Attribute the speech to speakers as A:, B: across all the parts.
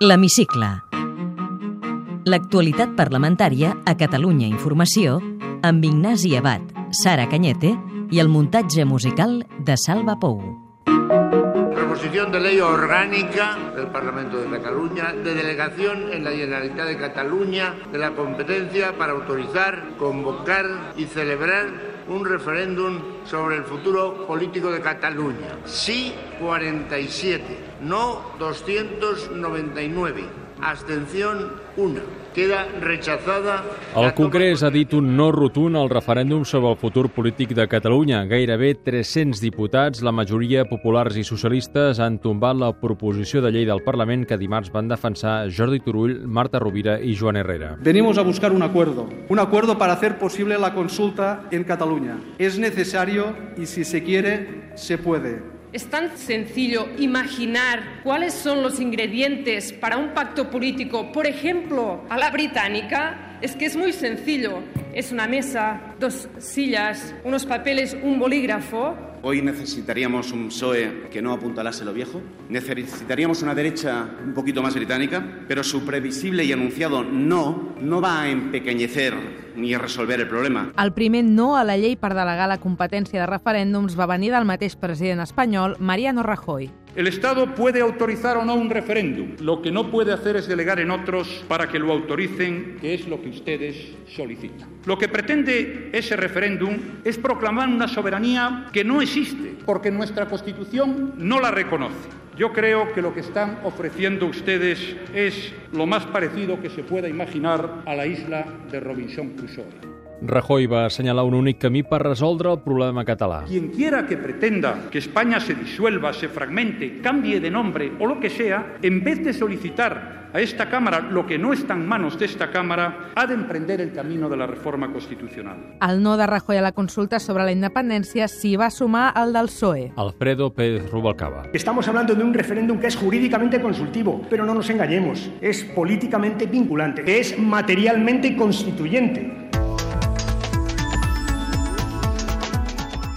A: L'Hemicicle. L'actualitat parlamentària a Catalunya Informació amb Ignasi Abad, Sara Canyete i el muntatge musical de Salva Pou.
B: Proposición de ley orgánica del Parlamento de Cataluña de delegación en la Generalitat de Cataluña de la competencia para autorizar, convocar y celebrar un referéndum sobre el futuro político de Cataluña. Sí 47, no 299, abstención 1. Queda rechazada.
C: El
B: la toma-
C: Congrés ha dit un no rotund al referèndum sobre el futur polític de Catalunya. Gairebé 300 diputats, la majoria populars i socialistes, han tombat la proposició de llei del Parlament que dimarts van defensar Jordi Turull, Marta Rovira i Joan Herrera.
D: Venimos a buscar un acuerdo, un acuerdo para hacer posible la consulta en Cataluña. Es necesario y si se quiere, se puede.
E: Es tan sencillo imaginar cuáles son los ingredientes para un pacto político, por ejemplo, a la británica. Es que es muy sencillo. Es una mesa, dos sillas, unos papeles, un bolígrafo.
F: Hoy necesitaríamos un PSOE E que no apuntalase lo viejo, necesitaríamos una derecha un poquito más británica, pero su previsible y anunciado no no va a empequeñecer ni a resolver el problema.
G: El primer no a la llei per delegar la competència de referèndums va venir del mateix president espanyol, Mariano Rajoy.
H: El Estado puede autorizar o no un referéndum. Lo que no puede hacer es delegar en otros para que lo autoricen, que es lo que ustedes solicitan. Lo que pretende ese referéndum es proclamar una soberanía que no existe, porque nuestra Constitución no la reconoce. Yo creo que lo que están ofreciendo ustedes es lo más parecido que se pueda imaginar a la isla de Robinson Crusoe.
C: Rajoy va assenyalar un únic camí per resoldre el problema català.
H: Quien quiera que pretenda que España se disuelva, se fragmente, cambie de nombre o lo que sea, en vez de solicitar a esta Cámara lo que no está en manos de esta Cámara, ha de emprender el camino de la reforma constitucional.
G: El no de Rajoy a la consulta sobre la independència s'hi va sumar el del PSOE.
C: Alfredo Pérez Rubalcaba.
I: Estamos hablando de un referéndum que es jurídicamente consultivo, pero no nos engañemos, es políticamente vinculante, es materialmente constituyente.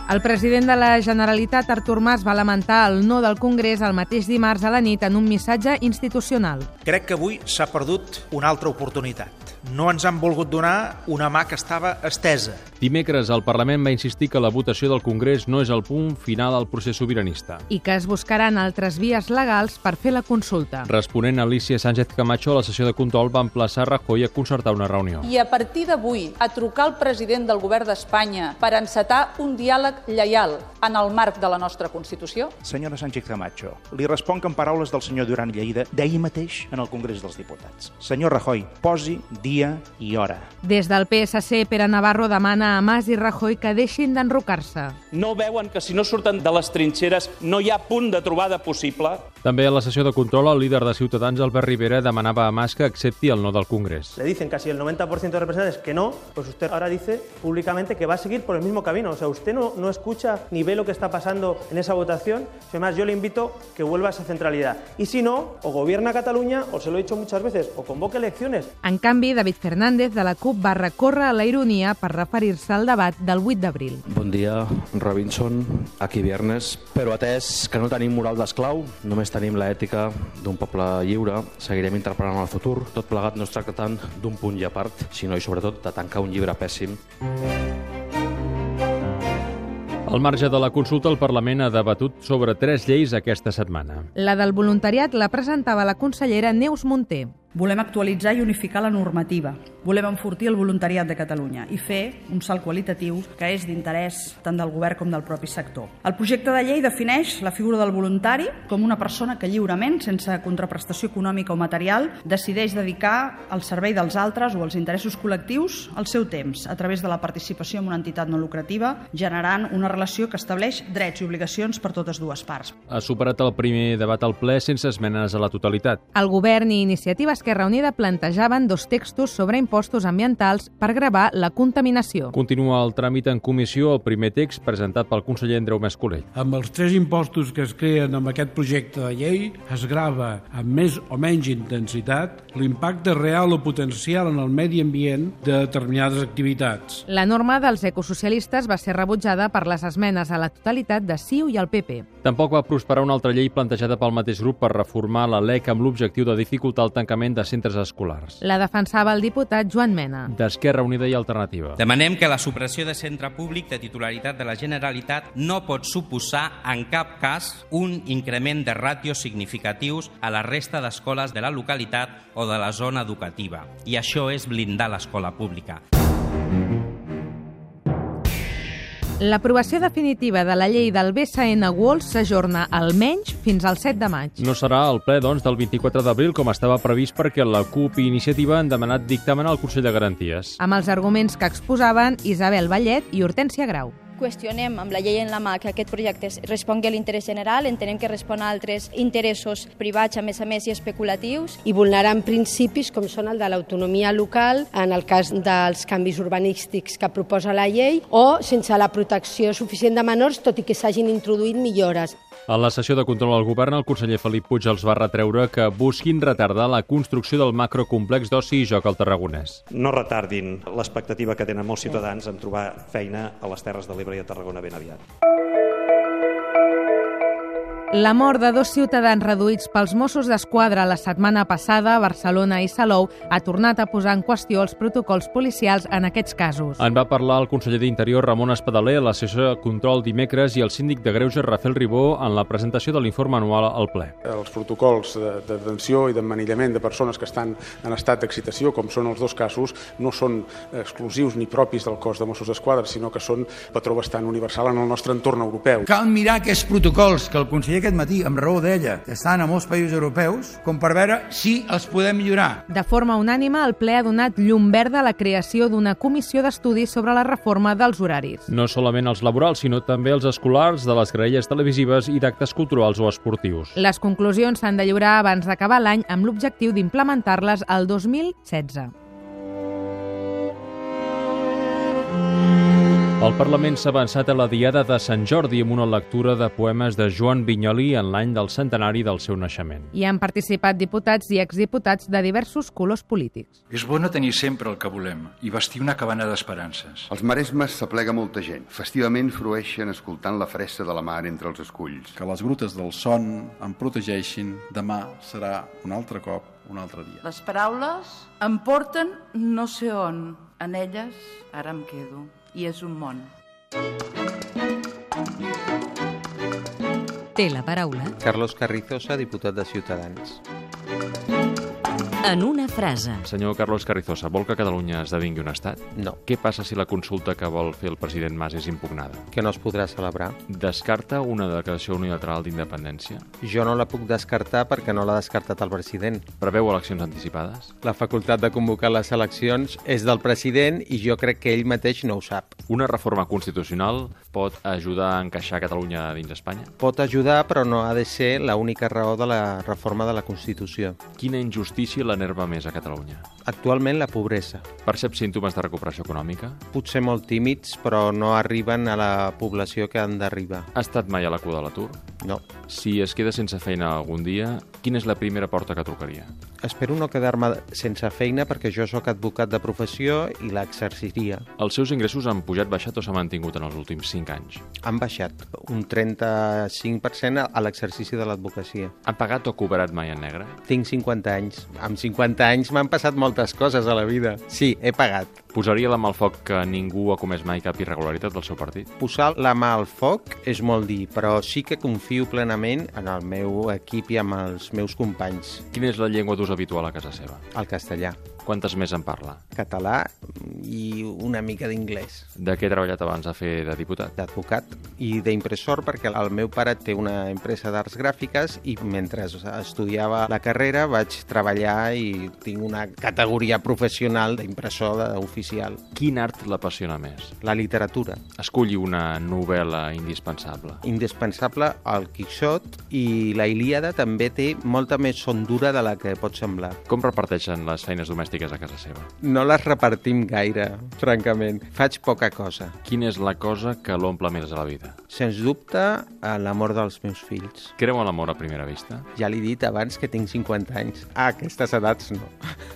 G: El president de la Generalitat, Artur Mas, va lamentar el no del Congrés el mateix dimarts a la nit en un missatge institucional.
J: Crec que avui s'ha perdut una altra oportunitat. No ens han volgut donar una mà que estava estesa.
C: Dimecres, el Parlament va insistir que la votació del Congrés no és el punt final al procés sobiranista.
G: i que es buscaran altres vies legals per fer la consulta.
C: Responent a Alicia Sánchez Camacho, a la sessió de control va emplaçar Rajoy a concertar una reunió.
K: I a partir d'avui, a trucar al president del govern d'Espanya per encetar un diàleg lleial en el marc de la nostra Constitució?
J: Senyora Sánchez Camacho, li responc en paraules del senyor Duran i Lleida d'ahir mateix en el Congrés dels Diputats. Senyor Rajoy, posi dia i hora.
G: Des del PSC, Pere Navarro demana a Mas i Rajoy que deixin d'enrocar-se.
L: No veuen que si no surten de les trinxeres no hi ha punt de trobada possible?
C: També a la sessió de control, el líder de Ciutadans, Albert Rivera, demanava a Mas que accepti el no del Congrés.
M: le dicen casi el 90% de representantes que no, pues usted ahora dice públicamente que va a seguir por el mismo camino. O sea, usted no, no escucha ni ve lo que está pasando en esa votación. Además, yo le invito que vuelva a esa centralidad. Y si no, o gobierna Cataluña, o se lo he dicho muchas veces, o convoque elecciones.
G: En canvi, David Fernández de la CUP va recórrer a la ironia per referir-se al debat del 8 d'abril.
N: Bon dia, Robinson, aquí viernes. Però atès que no tenim moral d'esclau, només tenim l'ètica d'un poble lliure, seguirem interpretant el futur. Tot plegat no es tracta tant d'un punt i a part, sinó i sobretot de tancar un llibre pèssim
C: Al marge de la consulta, el Parlament ha debatut sobre tres lleis aquesta setmana.
G: La del voluntariat la presentava la consellera Neus Munté.
O: Volem actualitzar i unificar la normativa. Volem enfortir el voluntariat de Catalunya i fer un salt qualitatiu que és d'interès tant del govern com del propi sector. El projecte de llei defineix la figura del voluntari com una persona que lliurement, sense contraprestació econòmica o material, decideix dedicar al servei dels altres o als interessos col·lectius el seu temps a través de la participació en una entitat no lucrativa, generant una relació que estableix drets i obligacions per totes dues parts.
C: Ha superat el primer debat al ple sense esmenes a la totalitat.
G: El govern i iniciatives Esquerra Unida plantejaven dos textos sobre impostos ambientals per gravar la contaminació.
C: Continua el tràmit en comissió el primer text presentat pel conseller Andreu Mascolell.
P: Amb els tres impostos que es creen amb aquest projecte de llei, es grava amb més o menys intensitat l'impacte real o potencial en el medi ambient de determinades activitats.
G: La norma dels ecosocialistes va ser rebutjada per les esmenes a la totalitat de CiU i el PP.
C: Tampoc va prosperar una altra llei plantejada pel mateix grup per reformar la LEC amb l'objectiu de dificultar el tancament de centres escolars.
G: La defensava el diputat Joan Mena.
C: D'Esquerra Unida i Alternativa.
Q: Demanem que la supressió de centre públic de titularitat de la Generalitat no pot suposar en cap cas un increment de ràtios significatius a la resta d'escoles de la localitat o de la zona educativa. I això és blindar l'escola pública.
G: L'aprovació definitiva de la llei del BSN World s'ajorna almenys fins al 7 de maig.
C: No serà el ple, doncs, del 24 d'abril, com estava previst perquè la CUP i Iniciativa han demanat dictamen al Consell de Garanties.
G: Amb els arguments que exposaven Isabel Vallet i Hortència Grau
R: qüestionem amb la llei en la mà que aquest projecte respongui a l'interès general, entenem que respon a altres interessos privats, a més a més, i especulatius.
S: I vulnerant principis com són el de l'autonomia local, en el cas dels canvis urbanístics que proposa la llei, o sense la protecció suficient de menors, tot i que s'hagin introduït millores.
C: A la sessió de control al govern, el conseller Felip Puig els va retreure que busquin retardar la construcció del macrocomplex d'oci i joc al Tarragonès.
T: No retardin l'expectativa que tenen molts ciutadans en trobar feina a les Terres de l'Ebre i a Tarragona ben aviat.
G: La mort de dos ciutadans reduïts pels Mossos d'Esquadra la setmana passada a Barcelona i Salou ha tornat a posar en qüestió els protocols policials en aquests casos.
C: En va parlar el conseller d'Interior Ramon Espadaler a la sessió de control dimecres i el síndic de Greuges Rafael Ribó en la presentació de l'informe anual al ple.
U: Els protocols de detenció i d'emmanillament de persones que estan en estat d'excitació, com són els dos casos, no són exclusius ni propis del cos de Mossos d'Esquadra, sinó que són patró bastant universal en el nostre entorn europeu.
V: Cal mirar aquests protocols que el conseller aquest matí, amb raó d'ella, estan a molts països europeus, com per veure si els podem millorar.
G: De forma unànime, el ple ha donat llum verda a la creació d'una comissió d'estudi sobre la reforma dels horaris.
C: No solament els laborals, sinó també els escolars, de les graelles televisives i d'actes culturals o esportius.
G: Les conclusions s'han de lliurar abans d'acabar l'any amb l'objectiu d'implementar-les al 2016.
C: El Parlament s'ha avançat a la Diada de Sant Jordi amb una lectura de poemes de Joan Vinyoli en l'any del centenari del seu naixement.
G: Hi han participat diputats i exdiputats de diversos colors polítics.
W: És bona tenir sempre el que volem i vestir una cabana d'esperances.
X: Els maresmes s'aplega molta gent. Festivament frueixen escoltant la fressa de la mar entre els esculls.
Y: Que les brutes del son em protegeixin. Demà serà un altre cop un altre dia.
Z: Les paraules em porten no sé on. En elles ara em quedo i és un món.
A: Té la paraula.
H: Carlos Carrizosa, diputat de Ciutadans.
A: En una frase.
C: Senyor Carlos Carrizosa, vol que Catalunya esdevingui un estat?
H: No.
C: Què passa si la consulta que vol fer el president Mas és impugnada?
H: Que no es podrà celebrar.
C: Descarta una declaració unilateral d'independència?
H: Jo no la puc descartar perquè no l'ha descartat el president.
C: Preveu eleccions anticipades?
H: La facultat de convocar les eleccions és del president i jo crec que ell mateix no ho sap.
C: Una reforma constitucional pot ajudar a encaixar Catalunya dins Espanya?
H: Pot ajudar, però no ha de ser l'única raó de la reforma de la Constitució.
C: Quina injustícia l'enerva més a Catalunya?
H: Actualment la pobresa.
C: Percep símptomes de recuperació econòmica?
H: Potser molt tímids, però no arriben a la població que han d'arribar.
C: Ha estat mai a la cua de l'atur?
H: No.
C: Si es queda sense feina algun dia, quina és la primera porta que trucaria?
H: Espero no quedar-me sense feina perquè jo sóc advocat de professió i l'exerciria.
C: Els seus ingressos han pujat, baixat o s'han mantingut en els últims 5 anys?
H: Han baixat un 35% a l'exercici de l'advocacia.
C: Ha pagat o cobrat mai en negre?
H: Tinc 50 anys. Amb 50 anys m'han passat moltes coses a la vida. Sí, he pagat.
C: Posaria la mà al foc que ningú ha comès mai cap irregularitat del seu partit?
H: Posar la mà al foc és molt dir, però sí que confio plenament en el meu equip i amb els meus companys.
C: Quina és la llengua d'ús habitual a casa seva?
H: El castellà.
C: Quantes més en parla?
H: Català i una mica d'inglès.
C: De què he treballat abans de fer de diputat?
H: D'advocat i d'impressor, perquè el meu pare té una empresa d'arts gràfiques i mentre estudiava la carrera vaig treballar i tinc una categoria professional d'impressor oficial.
C: Quin art l'apassiona més?
H: La literatura.
C: Esculli una novel·la indispensable.
H: Indispensable el Quixot i la Ilíada també té molta més sondura de la que pot semblar.
C: Com reparteixen les feines domèstiques a casa seva?
H: No les repartim gaire, francament. Faig poca cosa.
C: Quina és la cosa que l'omple més a la vida?
H: Sens dubte, l'amor dels meus fills.
C: Creu en l'amor a primera vista?
H: Ja l'he dit abans que tinc 50 anys. A aquestes edats no.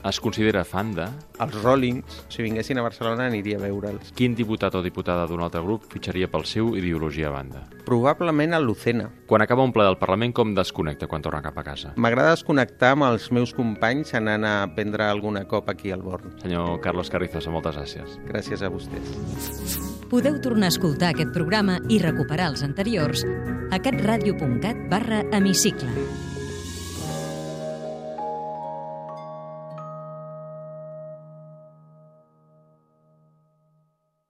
C: Es considera fan de...
H: Els Rollings. Si vinguessin a Barcelona aniria a veure'ls.
C: Quin diputat o diputada d'un altre grup fitxaria pel seu ideologia a banda?
H: Probablement el Lucena.
C: Quan acaba un ple del Parlament, com desconnecta quan torna cap a casa?
H: M'agrada desconnectar amb els meus companys anant a prendre alguna copa aquí al Born.
C: Senyor Carlos Carrizosa, moltes gràcies.
H: Gràcies a vostès.
A: Podeu tornar a escoltar aquest programa i recuperar els anteriors a catradio.cat barra hemicicle.